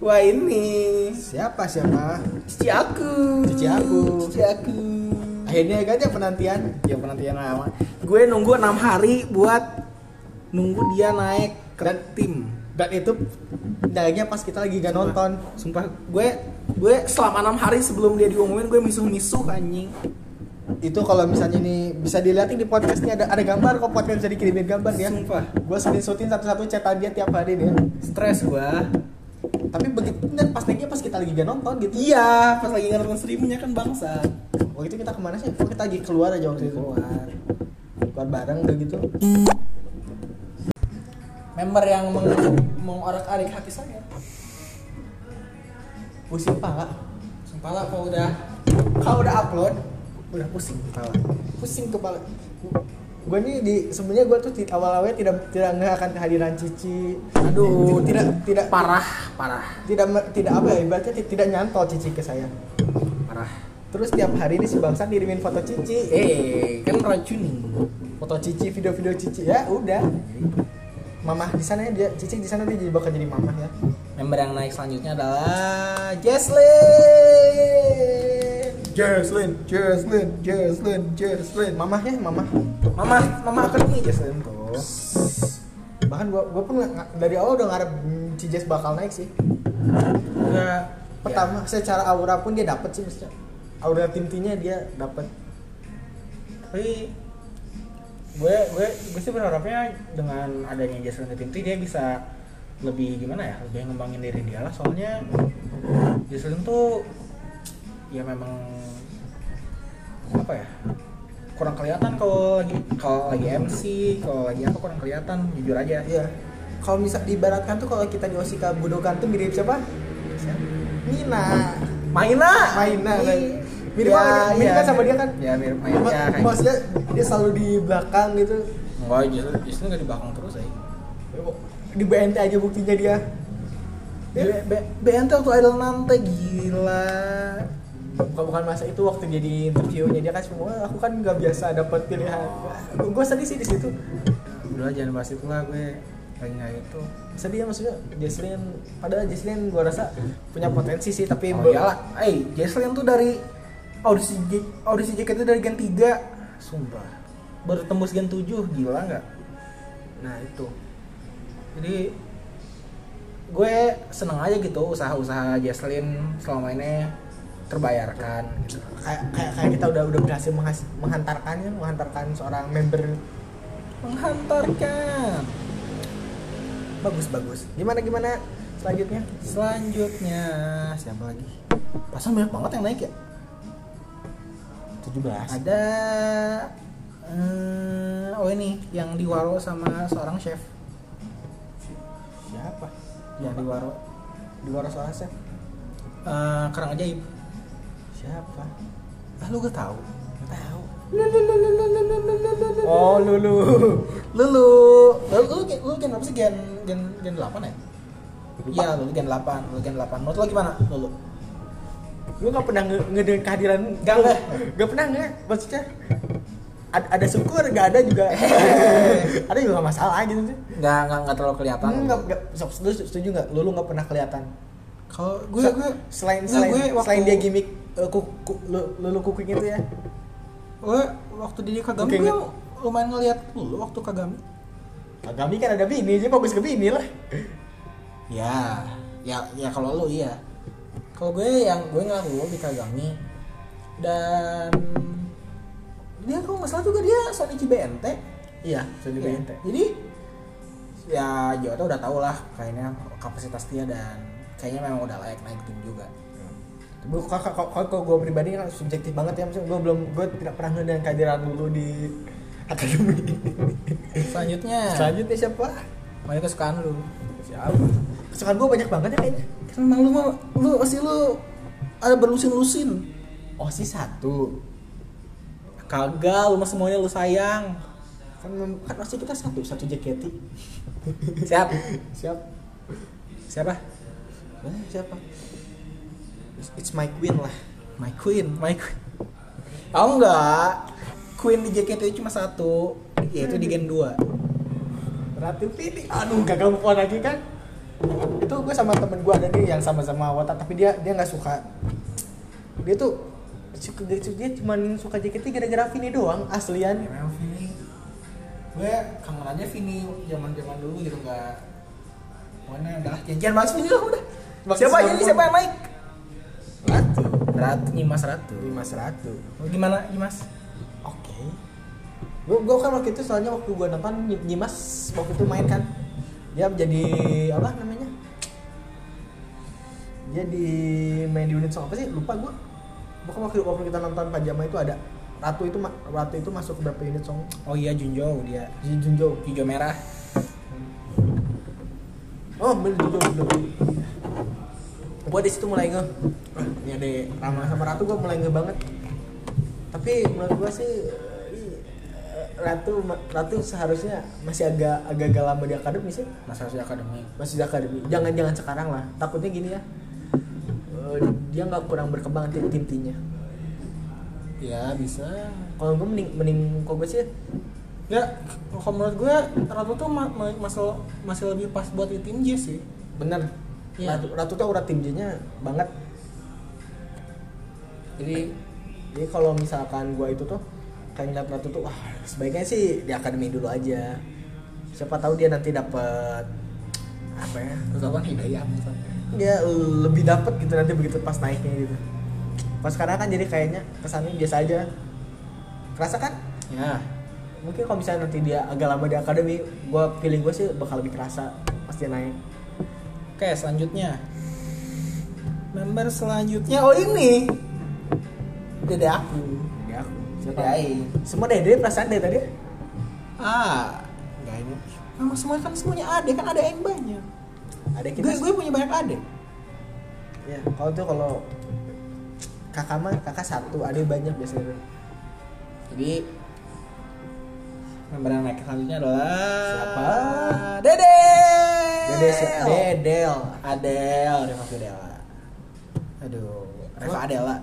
B: wah ini
A: Siapa siapa?
B: cici aku
A: Cici aku.
B: cici aku
A: Akhirnya kan ya penantian.
B: ya penantian lama gue nunggu enam hari buat nunggu dia naik ke
A: Dan-
B: tim
A: Dan itu naiknya pas kita lagi gak nonton.
B: sumpah gue gue selama enam hari sebelum dia diumumin gue misuh misuh anjing
A: Itu kalau misalnya ini bisa dilihat di podcast ini ada ada gambar kok podcast bisa dikirimin gambar ya.
B: sumpah
A: Gue screenshotin satu-satu chatan dia tiap hari nih. ya.
B: stres gue
A: Tapi begitu pas naiknya pas kita lagi gak nonton gitu.
B: iya pas lagi nonton streamnya kan bangsa
A: Waktu itu kita kemana sih? Waktu kita lagi keluar aja waktu itu.
B: keluar
A: Keluar bareng udah gitu.
B: member yang meng mengorak arik hati saya
A: Pusing pala.
B: Sempala kalau udah kalau udah upload
A: Udah pusing kepala. Pusing kepala. Gue nih di sebenarnya gue tuh ti- awal-awalnya tidak tidak nggak akan kehadiran Cici.
B: Aduh,
A: Ti- tidak tidak
B: parah parah
A: tidak me- tidak apa ya ibaratnya ti- tidak nyantol Cici ke saya.
B: parah
A: Terus tiap hari ini si Bangsa ngirimin foto Cici.
B: eh kan racun
A: Foto Cici, video-video Cici ya udah. Mamah di sana ya, dia Cici di sana dia jadi bakal jadi mamah ya.
B: member yang naik selanjutnya
A: Ah,
B: adalah Jesslyn
A: Jaslin, Jaslin, Jaslyn, Jaslyn. Mamahnya mamah.
B: mama mama akademi Jesslyn
A: Tuh. bahkan gua gua pun nggak- dari awal udah ngarep hmm, Cijes bakal naik sih
B: nah
A: pertama secara aura pun dia dapet sih maksudnya aura tim timnya dia dapet
B: tapi gue gue gue sih berharapnya dengan adanya Jason ke tim T, dia bisa lebih gimana ya lebih ngembangin diri dia lah soalnya Jason tuh ya memang apa ya kurang kelihatan kalau lagi kalau lagi MC kalau lagi apa kurang kelihatan jujur aja
A: iya kalau misal diibaratkan tuh kalau kita di Osaka Budokan tuh mirip siapa Nina
B: Maina
A: Maina kan
B: Ih.
A: mirip banget, mirip kan sama dia kan?
B: ya mirip Maina
A: Ma-
B: ya, kayak
A: maksudnya dia selalu di belakang gitu
B: enggak Jason Jason nggak di belakang terus eh. ya
A: di BNT aja buktinya dia
B: B- B- BNT waktu idol nanti gila
A: bukan bukan masa itu waktu jadi interviewnya dia kan semua aku kan nggak biasa dapat pilihan gue sedih sih di situ
B: udah jangan bahas itu lah gue lagi nggak itu
A: sedih ya maksudnya Jesslyn padahal Jesslyn gue rasa punya potensi sih tapi ya
B: oh
A: be-
B: iyalah eh Jesslyn tuh dari audisi J- audisi JKT itu dari gen 3 sumpah baru tembus gen 7 gila nggak nah itu jadi gue seneng aja gitu usaha-usaha Jesslyn selama ini terbayarkan gitu.
A: kayak kayak kayak kita udah udah berhasil menghas- menghantarkannya menghantarkan seorang member
B: menghantarkan
A: bagus bagus gimana gimana selanjutnya
B: Selanjutnya siapa lagi? Pasang banyak banget yang naik ya.
A: 17
B: Ada eh, oh ini yang diwaro sama seorang chef. Ya,
A: siapa
B: Yang diwaro
A: di waras Oase.
B: eh, kerang ajaib.
A: siapa
B: Ah lu gak tahu?
A: nggak tahu oh lulu
B: Lu lu lu lu, gen- lu gen apa sih gen gen gen 8 ya? Iya, lu gen 8, lu gen 8. Menurut lu gimana? Lu lu.
A: lu nggak pernah nge- ngedengar kehadiran
B: Nggak, nggak.
A: nggak pernah nggak maksudnya ad- ada syukur nggak ada juga ada juga nggak masalah gitu sih
B: Enggak enggak enggak terlalu kelihatan.
A: nggak nggak so- lu setuju nggak lulu nggak pernah kelihatan
B: Kalau gue
A: Se-
B: gue
A: selain
B: enggak,
A: selain
B: gue waktu-
A: selain dia gimmick eh, ku, ku, lu- lulu kuking itu ya
B: gue waktu di Kagami
A: Oke,
B: gue
A: nggak.
B: lumayan ngeliat lu waktu Kagami.
A: Kagami kan ada bini, jadi bagus ke bini lah.
B: Ya, ya, ya kalau lu iya. Kalau gue yang gue ngeliat lu di Kagami dan dia kalau nggak salah juga dia Sonichi BNT.
A: Iya, Sony
B: Iya.
A: BNT.
B: Jadi ya Jawa tuh udah tau lah kayaknya kapasitas dia dan kayaknya memang udah layak naik tim juga.
A: Gue kakak kalau gue pribadi kan subjektif banget ya, maksudnya gue belum gue tidak pernah ngeliat kehadiran lulu di akademi.
B: Selanjutnya,
A: Selanjutnya siapa?
B: mari kesukaan lu.
A: Siapa? Kesukaan gue banyak banget ya kayaknya.
B: Karena memang lu mau lu pasti lu ada berlusin-lusin.
A: Oh si satu.
B: Kagak, lu mah semuanya lu sayang.
A: Kan mem- kan pasti kita satu satu JKT.
B: Siap.
A: Siap.
B: Siapa?
A: Eh, siapa? It's- It's my queen lah.
B: My Queen, My Queen. Tahu nggak? Queen di JKT itu cuma satu, yaitu di Gen 2.
A: Ratu Titi. Aduh, gagal move on lagi kan? Itu gue sama temen gue ada nih yang sama-sama watak tapi dia dia nggak suka. Dia tuh suka- dia, dia cuma suka JKT gara-gara Vini doang aslian.
B: Memang Vini. Gue kangen aja Vini zaman-zaman dulu gitu nggak. Pokoknya udah janjian bahas Vini lah udah.
A: Bahas
B: siapa
A: siapa
B: jadi
A: pun.
B: siapa yang naik?
A: Ratu.
B: Ratu, Nyimas Ratu.
A: Mas Ratu.
B: Oh, Gimana Nyimas?
A: Oke. Gue gue kan waktu itu soalnya waktu gue nonton Ny- Nyimas waktu itu main kan. Dia jadi apa namanya? Dia di main di unit song apa sih? Lupa gue. Bukan waktu waktu kita nonton Pajama itu ada Ratu itu ma- Ratu itu masuk ke berapa unit song?
B: Oh iya Junjo dia.
A: Di Junjo.
B: Junjo merah.
A: Oh, bener Junjo bener. Gue di situ mulai nge. Ah, ini ada Rama sama Ratu gue mulai nge banget. Tapi menurut gue sih eh, Ratu Ratu seharusnya masih agak agak agak lama di akademi sih.
B: Masa sih akademi.
A: Masih di akademi. Jangan jangan sekarang lah. Takutnya gini ya. eh, dia nggak kurang berkembang tim tim timnya.
B: Ya bisa.
A: Kalau gue mending mending kalau gue sih
B: Ya, kalau menurut gue Ratu tuh ma- ma- masih masih lebih pas buat di tim J sih.
A: bener.
B: Iya.
A: Ratu, Ratu tuh urat tim J-nya banget.
B: Jadi
A: Jadi kalau misalkan gua itu tuh kayak ngeliat Ratu tuh wah sebaiknya sih di akademi dulu aja. Siapa tahu dia nanti dapat apa ya?
B: terus apa hidayah misalnya.
A: Ya lebih dapat gitu nanti begitu pas naiknya gitu. Pas sekarang kan jadi kayaknya kesannya biasa aja. Kerasa kan?
B: Ya,
A: Mungkin kalau misalnya nanti dia agak lama di akademi, gua feeling gua sih bakal lebih kerasa pas dia naik.
B: oke selanjutnya. Member selanjutnya oh ini. Dede aku.
A: Ya aku.
B: Dede Aing.
A: Semua dede perasaan dari tadi.
B: Ah, enggak ini. Emang semua kan semuanya ade kan ada yang banyak.
A: Ada Ya, kita.
B: Gue gue punya banyak ade.
A: Ya, kalau tuh kalau kakak mah kakak satu, ada banyak biasanya.
B: Jadi member yang naik selanjutnya adalah
A: Siapa?
B: Dede.
A: Dede si-
B: Dedel. Adel, Reva Adela. Aduh, Reva Adela.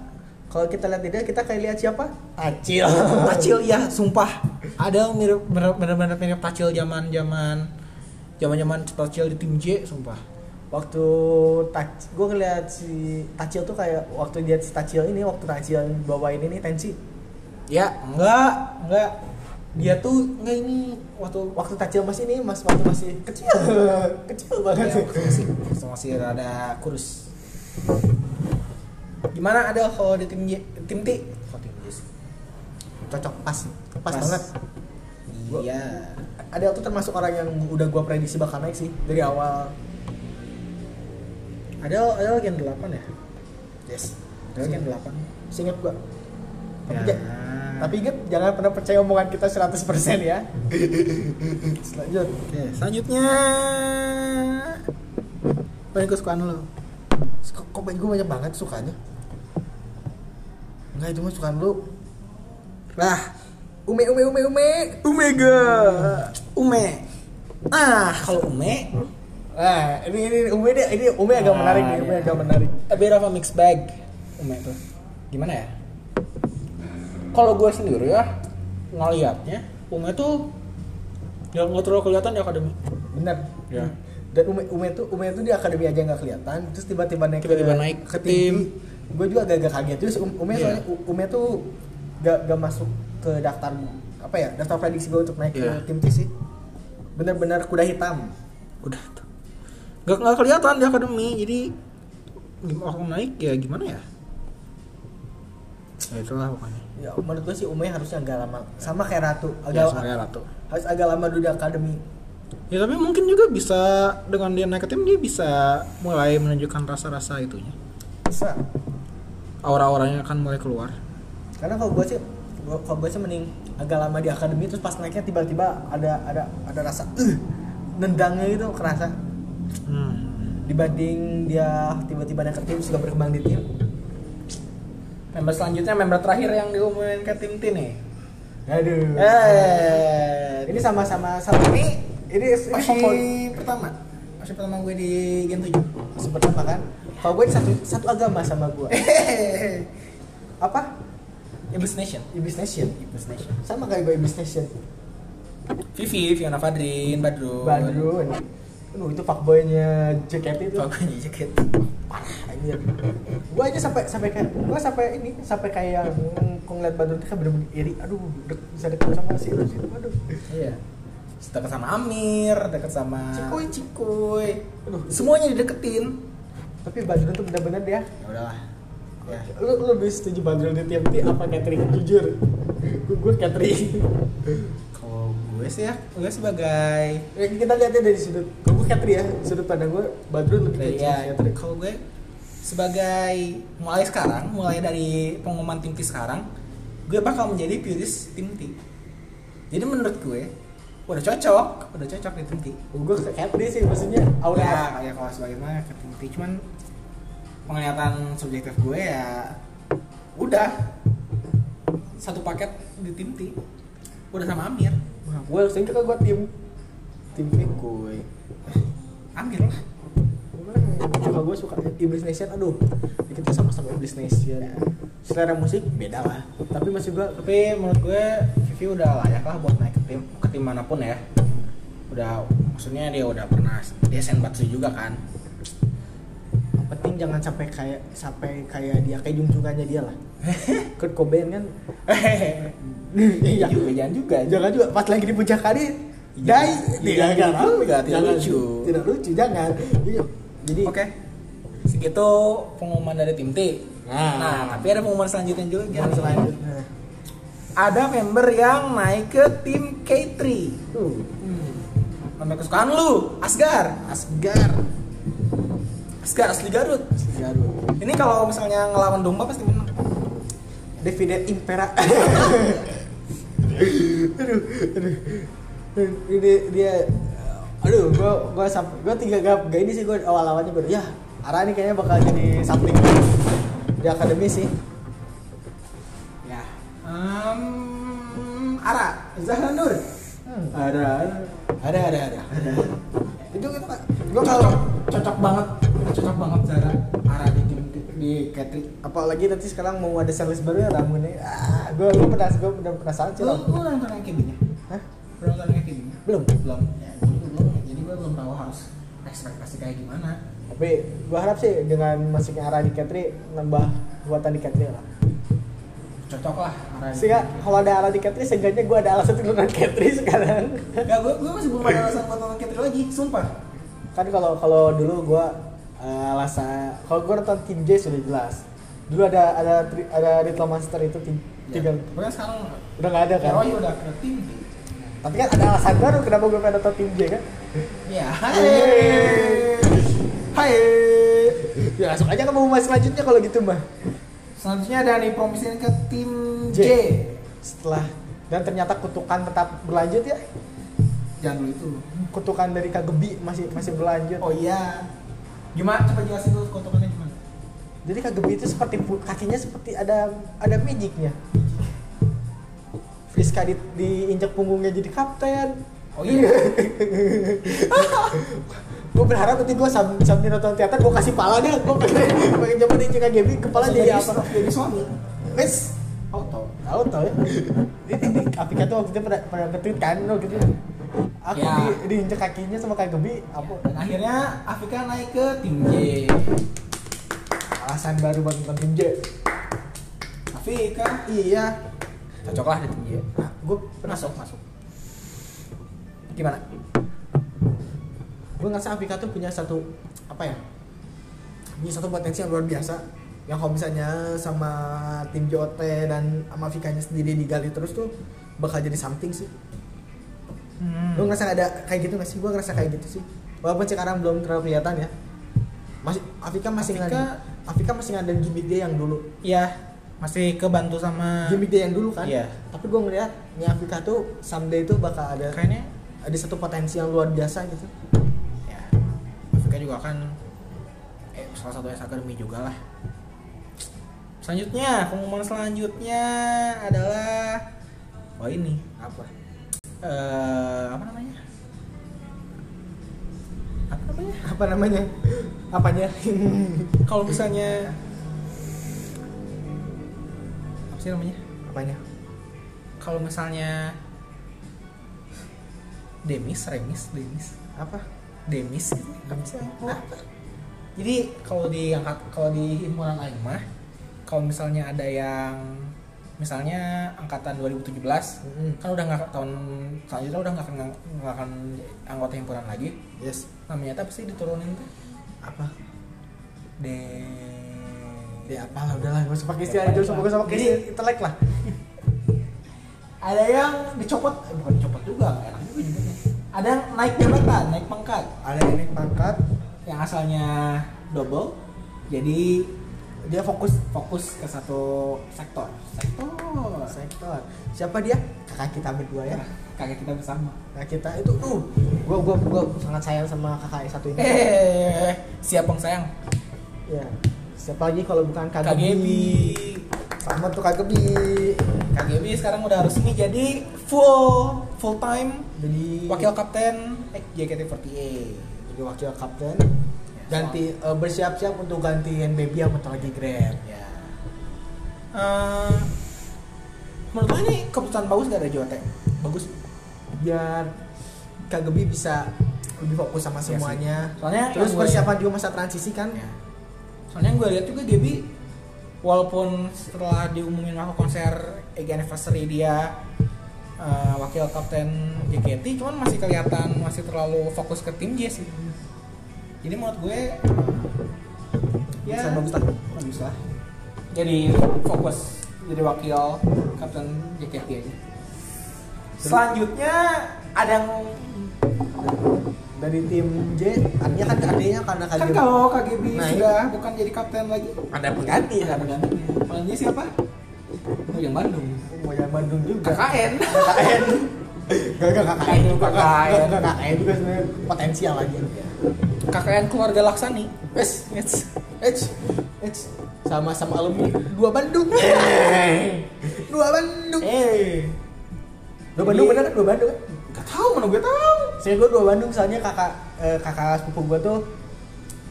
A: Kalau kita lihat tidak, kita kayak lihat siapa? Acil.
B: Pacil ya, sumpah. Ada mirip benar-benar mirip Pacil zaman-zaman zaman-zaman Pacil di tim J, sumpah.
A: Waktu tac, gue ngeliat si Tacil tuh kayak waktu dia si Tacil ini, waktu Tacil bawain ini tensi.
B: Ya, enggak, enggak. Dia tuh enggak ini waktu
A: Waktu Tacil masih ini, mas waktu masih kecil, kecil banget.
B: ya, waktu masih waktu masih rada kurus. Gimana ada kalau di tim J, tim T? Kok tim J sih?
A: Cocok pas, pas,
B: Pas.
A: banget.
B: Iya.
A: Adel tuh termasuk orang yang udah gua prediksi bakal naik sih dari awal.
B: Adel Adel gen 8 ya?
A: Yes.
B: Adel gen 8.
A: Singkat gua. Tapi,
B: Iya. Ya.
A: ja- tapi inget jangan pernah percaya omongan kita 100% ya. Lanjut.
B: Oke, selanjutnya paling kesukaan lo.
A: Kok, kok banyak- gua banyak banget sukanya? Enggak itu mah sukaan lu.
B: Lah,
A: Ume ume ume ume.
B: Omega. Ume. Ah, kalau Ume,
A: Nah, ini ini ini ume deh, ini ume agak
B: Ah,
A: menarik nih, ume
B: iya.
A: agak menarik.
B: a bit of a mixed bag. Ume tuh. Gimana ya? Kalau gue sendiri ya ngelihatnya Ume tuh yang nggak terlalu kelihatan di akademi.
A: Benar.
B: Ya.
A: Dan Ume Ume tuh Ume tuh di akademi aja nggak kelihatan, terus tiba-tiba naik
B: Tiba-tiba naik
A: ke
B: ke
A: tim.
B: tim.
A: Gue juga agak-agak kaget terus Um- Ume
B: Iya.
A: soalnya U- Ume tuh gak, gak masuk ke daftar apa ya daftar prediksi gue untuk naik
B: Iya.
A: ke tim TC. Benar-benar kuda hitam.
B: Udah tuh. Gak nggak kelihatan di akademi. Jadi gim- orang naik ya gimana ya? Ya itulah pokoknya.
A: Ya, menurut gue sih Ume harusnya agak lama, sama kayak Ratu, agak
B: Ya, semuanya ratu.
A: harus agak lama dulu di akademi.
B: Ya tapi mungkin juga bisa dengan dia naik ke tim dia bisa mulai menunjukkan rasa-rasa itunya.
A: Bisa.
B: Aura-auranya akan mulai keluar.
A: Karena kalau gue sih gua- kalau gue sih mending agak lama di akademi terus pas naiknya tiba-tiba ada ada ada rasa eh nendangnya gitu kerasa
B: Hmm.
A: dibanding dia tiba-tiba naik ke tim suka berkembang di tim
B: Member selanjutnya member terakhir yang diumumin ke tim T nih.
A: aduh
B: Eh,
A: ini sama-sama sama ini ini
B: masih pertama. Masih pertama gue di Gen 7.
A: seperti apa kan kalau gue ini satu satu agama sama gue apa
B: Ibis Nation.
A: ibis nation
B: Ibis Nation.
A: sama kayak gue ibis nation
B: Vivi, Fiona Fadrin, Badrun.
A: badrun Aduh, itu fuckboynya JKT itu
B: Bagus nih jaket.
A: anjir gue aja sampai sampai kayak gue sampai ini sampai kayak mm, kok ngeliat badrun itu kayak bener-bener iri aduh dek- bisa dekat sama si Irus itu aduh
B: Iya. Dekat sama Amir, dekat sama
A: Cikuy,
B: Cikuy.
A: Aduh.
B: Semuanya dideketin.
A: tapi badrun tuh bener-bener dia
B: Ya udahlah. Ya.
A: lu lu lebih setuju bandrol di TMT apa catering jujur gue gue catering
B: Kalau gue sih ya, gue sebagai
A: Ya, kita lihatnya dari sudut gue catering ya sudut pandang gue bandrol lebih
B: dari
A: catering
B: ya,
A: catering
B: kalau gue sebagai mulai sekarang, mulai dari pengumuman tim T sekarang, gue bakal menjadi purist tim T. Jadi menurut gue udah cocok, udah cocok di tim T.
A: gue Oh, ke catering sih maksudnya aura
B: ya, kayak kalau sebagaimana ke tim T cuman penglihatan subjektif gue ya udah satu paket di tim T. Udah sama Amir.
A: Wah, gue harusnya kan gue tim tim tim
B: Gue Amir lah.
A: kalau gue suka Iblis Nation aduh Ya, kita sama-sama Iblis Nation selera musik beda lah tapi masih gue
B: tapi menurut gue Vivi udah layak lah buat naik ke tim ke tim manapun ya udah maksudnya dia udah pernah dia senbatsu juga kan
A: yang penting jangan sampai kayak sampai kayak dia kayak jungjungannya dia lah Kurt Cobain kan
B: iya
A: iya
B: juga jangan juga
A: jangan juga pas lagi di puncak kali
B: Iya.
A: dai
B: Iya,
A: tidak
B: jangan,
A: lucu
B: tidak
A: jangan
B: lucu.
A: tidak lucu jangan Iya. jadi
B: oke segitu pengumuman dari tim T
A: Nah.
B: nah tapi ada pengumuman selanjutnya juga
A: yang selanjutnya
B: ada member yang naik ke tim K3
A: tuh
B: member kesukaan lu Asgar
A: Asgar
B: Asgar asli Garut
A: Asgar bro.
B: ini kalau misalnya ngelawan domba pasti menang
A: Dividen Impera aduh aduh ini dia aduh gua gua sampai gua tiga gap gak ini sih gua awal awalnya gua ya arah ini kayaknya bakal jadi something di akademi sih
B: ya um, Ara Zahra Nur
A: ada
B: ada ada ada
A: itu itu Pak.
B: gue
A: gua
B: cocok
A: kalau
B: cocok banget cocok banget Zara Ara di tim di, di Katri
A: apalagi nanti sekarang mau ada series baru ya Ramu nih ah gue gue penas gue bener penasaran sih
B: lu
A: Ram.
B: lu udah nonton yang nya
A: Hah?
B: udah nonton yang nya
A: belum
B: belum ya gue juga belum jadi gue belum tahu harus ekspektasi kayak gimana
A: tapi gue harap sih dengan masuknya arah di Katri nambah kekuatan di Katri lah
B: cocok lah Ara di-
A: sehingga kalau ada arah di Katri seenggaknya gue ada alasan untuk nonton Katri sekarang
B: Nggak, gue gue masih belum ada alasan buat nonton Katri lagi sumpah
A: kan kalau kalau dulu gue eh, alasan kalau gue nonton Team J sudah jelas dulu ada ada tri- ada Little Monster itu tim, tiga
B: gue Ya, sekarang Oh, iya.
A: udah nggak ada kan
B: Roy udah ke tim T.
A: Tapi kan ada alasan baru kenapa gue pengen nonton tim J kan?
D: Ya.
A: Hai. Hai. Ya langsung aja ke pengumuman selanjutnya kalau gitu mah.
B: Selanjutnya dari promosi ke tim
A: J.
B: J.
A: Setelah dan ternyata kutukan tetap berlanjut ya.
B: Jangan dulu itu.
A: Kutukan dari Kagebi masih masih berlanjut.
B: Oh iya. Gimana coba jelasin dulu kontokannya gimana?
A: Jadi Kagebi itu seperti pu- kakinya seperti ada ada magicnya. Friska di, diinjak punggungnya jadi kapten.
B: Oh iya.
A: gue berharap nanti gue sam sambil nonton teater gue kasih pala deh gue pengen pengen coba di Kagebi kepala jadi apa?
B: Jadi suami.
A: Wes
B: Auto.
A: tahu tau ya ini ini Afrika tuh waktu itu pernah pernah ngetweet kan lo gitu aku
B: Ya.
A: di, diinjek kakinya sama kayak gebi apa
B: Dan akhirnya Afika naik ke tim J.
A: alasan baru buat nonton tim J
B: Afika
A: iya
D: Cocok lah di tim J.
A: gue pernah
B: masuk masuk.
A: gimana gue ngerasa Afrika tuh punya satu apa ya punya satu potensi yang luar biasa yang kalau misalnya sama tim JOT dan sama Afrikanya sendiri digali terus tuh bakal jadi something sih Lo
B: Hmm.
A: ngerasa ada kayak gitu gak sih? Gue ngerasa kayak gitu sih Walaupun sekarang belum terlalu kelihatan ya masih Afika masih
B: Afika-
A: ngada Afika masih ngadain gimmick dia yang dulu
B: Iya, masih kebantu sama
A: Gimmick dia yang dulu kan
D: Iya.
A: Tapi gue ngeliat Nih Afika tuh someday tuh bakal ada
B: kayaknya
A: Ada satu potensi yang luar biasa gitu
B: ya Afrika juga kan eh, salah satu es akademi juga lah selanjutnya pengumuman selanjutnya adalah wah ini
A: Apa?
B: eh apa namanya apa namanya
A: Apa namanya? Apanya?
B: kalau misalnya apa sih namanya
A: Apanya?
B: kalau misalnya Demis, Remis, Demis,
A: Apa? Ah,
B: Demis gitu.
A: Demis apa?
B: Apa? Jadi kalau diangkat kalau di himpunan aing mah kalau misalnya ada yang misalnya angkatan 2017
A: Mm-mm.
B: kan udah nggak tahun selanjutnya udah nggak akan nggak akan anggota himpunan lagi
A: Yes
B: namanya apa sih diturunin tuh
A: Apa?
B: de
A: Ya apalah udahlah Gak usah pakai istilah itu Gak usah pakai
B: Jadi-
A: istilah intelek lah
B: ada yang dicopot eh, bukan dicopot juga nggak enak juga nyebutnya. ada yang naik jabatan naik pangkat
A: Ada yang naik pangkat
B: yang asalnya double jadi
A: Dia fokus
B: fokus ke satu sektor sektor
A: sektor Siapa dia? Kakak kita berdua ya
B: kakek kita bersama
A: Nah kita itu tuh gua gua gua sangat sayang sama kakak yang satu ini.
B: Eh, siap bang sayang.
A: Ya. Siapa lagi kalau bukan Kak
B: KGBI.
A: Gebi. Sama tuh Kak Gebi.
B: KGBI sekarang udah resmi jadi full full time
A: Jadi
B: wakil kapten eh, JKT48.
A: jadi wakil kapten. Ganti eh, bersiap-siap untuk ganti NBB yang bentar lagi Grab.
B: Ya. Eh, menurut gue ini keputusan bagus gak dari JOT? Bagus.
A: Biar Kak Gebi bisa lebih fokus sama
B: Iya sih.
A: semuanya.
B: Soalnya
A: Terus
B: yang gue-
A: persiapan juga masa transisi kan?
B: Ya. Soalnya yang gue lihat juga Gaby walaupun setelah diumumin aku konser EG anniversary dia eh, wakil kapten JKT cuman masih kelihatan masih terlalu fokus ke tim J sih. Jadi menurut gue
A: Bisa bagus lah.
B: Ya. bagus lah. Jadi fokus jadi wakil kapten JKT aja. Selanjutnya ada yang
A: Dari tim J, artinya kan artinya karena Kak
B: kan
A: Gebi-
B: kalau KGB
A: Nah,
B: sudah bukan jadi kapten lagi
A: ada pengganti
B: Iya,
A: kan?
B: penggantinya. Penggantinya siapa? Oh, yang Bandung.
A: Mau yang Bandung juga.
B: KKN.
A: KKN Gak, gak, KKN juga
B: KKN.
A: Gak, gak, KKN juga sebenarnya potensial lagi
B: KKN keluarga Laksani.
A: Wes,
B: Yes.
A: H, H Sama-sama Eh, alumni dua Bandung Dua Bandung
B: Eh.
A: Dua Bandung bener kan? Dua Bandung kan?
B: Gak tahu mana gue tahu.
A: Saya gue dua Bandung soalnya kakak eh, kakak sepupu gue tuh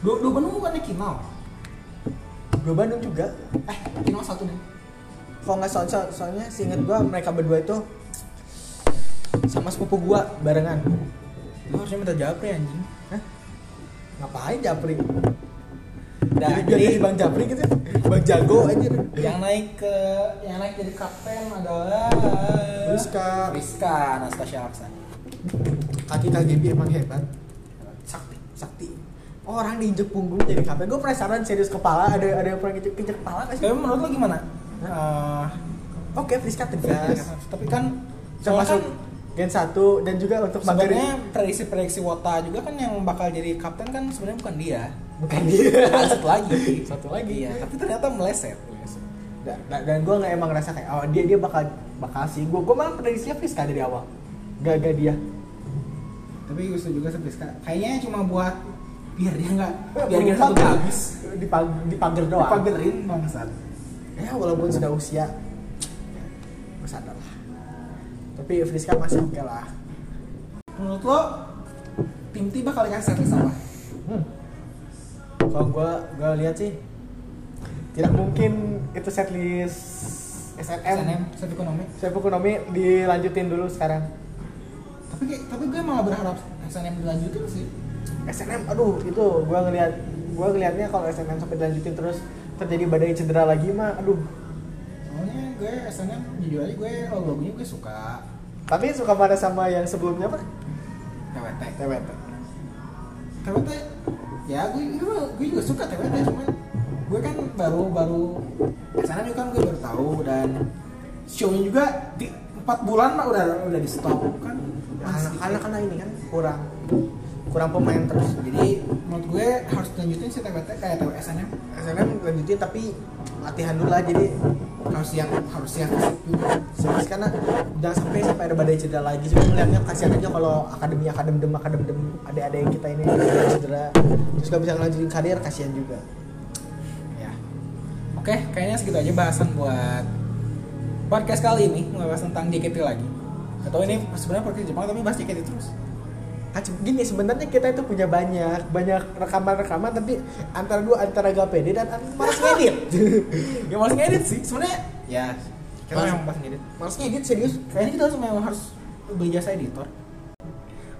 B: Dua dua Bandung bukannya Kinau.
A: dua Bandung juga
B: Eh, Kinau satu deh.
A: kalau nggak soal, soal- soalnya seinget gue mereka berdua itu sama sepupu gue barengan
B: Lu harusnya minta Japri anjing.
A: Hah? ngapain Japri?
B: Nah,
A: jadi biar
B: jadi-
A: jadi Bang Japri gitu, Bang Jago aja.
B: Yang naik ke yang naik jadi kapten adalah
A: Friska.
B: Friska Anastasia Laksani.
A: kaki KGB emang hebat
B: Sakti.
A: sakti orang diinjek punggung jadi kapten gue penasaran serius kepala ada ada yang pernah injek injek kepala nggak sih
B: Tapi menurut lo gimana? Eh,
A: oke Friska tegas
B: tapi kan
A: termasuk
B: soalnya kan
A: Gen 1 dan juga untuk materi
B: sebenarnya prediksi-prediksi Wota juga kan yang bakal jadi kapten kan sebenarnya bukan dia
A: bukan dia.
B: Ada satu lagi
E: Satu lagi.
B: iya tapi ternyata meleset
A: Dan, dan gue nggak emang ngerasa kayak oh dia dia bakal bakal sih gue gue malah prediksi Friska dari awal. Gak gak dia.
B: tapi gue setuju juga sama Priska kayaknya cuma buat biar dia nggak biar
A: Biar
B: dia satu habis
A: dipager doang.
B: dipagerin bangsat
A: Ya walaupun sudah usia ya, gue sadar lah. Tapi Friska masih oke lah.
B: menurut lo tim T bakal dikasih setlist apa?
A: Hmm. Kalau gue gue lihat sih tidak mungkin itu setlist
B: SNM
A: SNM.
B: set ekonomi
A: Saya ekonomi dilanjutin dulu sekarang.
B: tapi kayak- tapi gue malah berharap SNM dilanjutin sih
A: SNM aduh itu gua ngelihat gua ngelihatnya kalau SNM sampai dilanjutin terus terjadi badai cedera lagi mah aduh
B: soalnya gue SNM jujur aja gue logonya gue suka
A: tapi suka pada sama yang sebelumnya apa
B: TWT
A: TWT
B: TWT ya gue gue, gue juga suka TWT cuman gue kan baru baru kesana juga kan gue baru tahu dan show-nya juga di empat bulan lah udah udah di stop kan
A: anak anak karena ini kan kurang kurang pemain terus
B: jadi menurut gue harus lanjutin sih eh, TWT kayak TWSN
A: SNM lanjutin tapi latihan dulu lah jadi
B: harus yang harus yang fisik juga
A: serius karena jangan sampai sampai ada badai cedera lagi cuma melihatnya kasihan aja kalau akademi akadem akadem ada-ada yang kita ini cedera terus gak bisa ngelanjutin karir kasihan juga
B: ya oke kayaknya segitu aja bahasan buat podcast kali ini ngebahas tentang JKT lagi atau ini sebenarnya podcast Jepang tapi bahas JKT terus
A: Kan se- gini sebenarnya kita itu punya banyak banyak rekaman-rekaman tapi antara dua antara gak pede dan antara malas ngedit
B: ya males ngedit sih sebenarnya ya kita
A: Males-
B: memang pas ngedit
A: malas ngedit serius
B: kayaknya kita harus memang harus beli jasa editor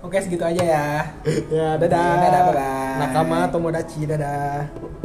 B: oke segitu aja ya
A: ya dadah
B: Dadah, bye-bye.
A: nakama tomodachi dadah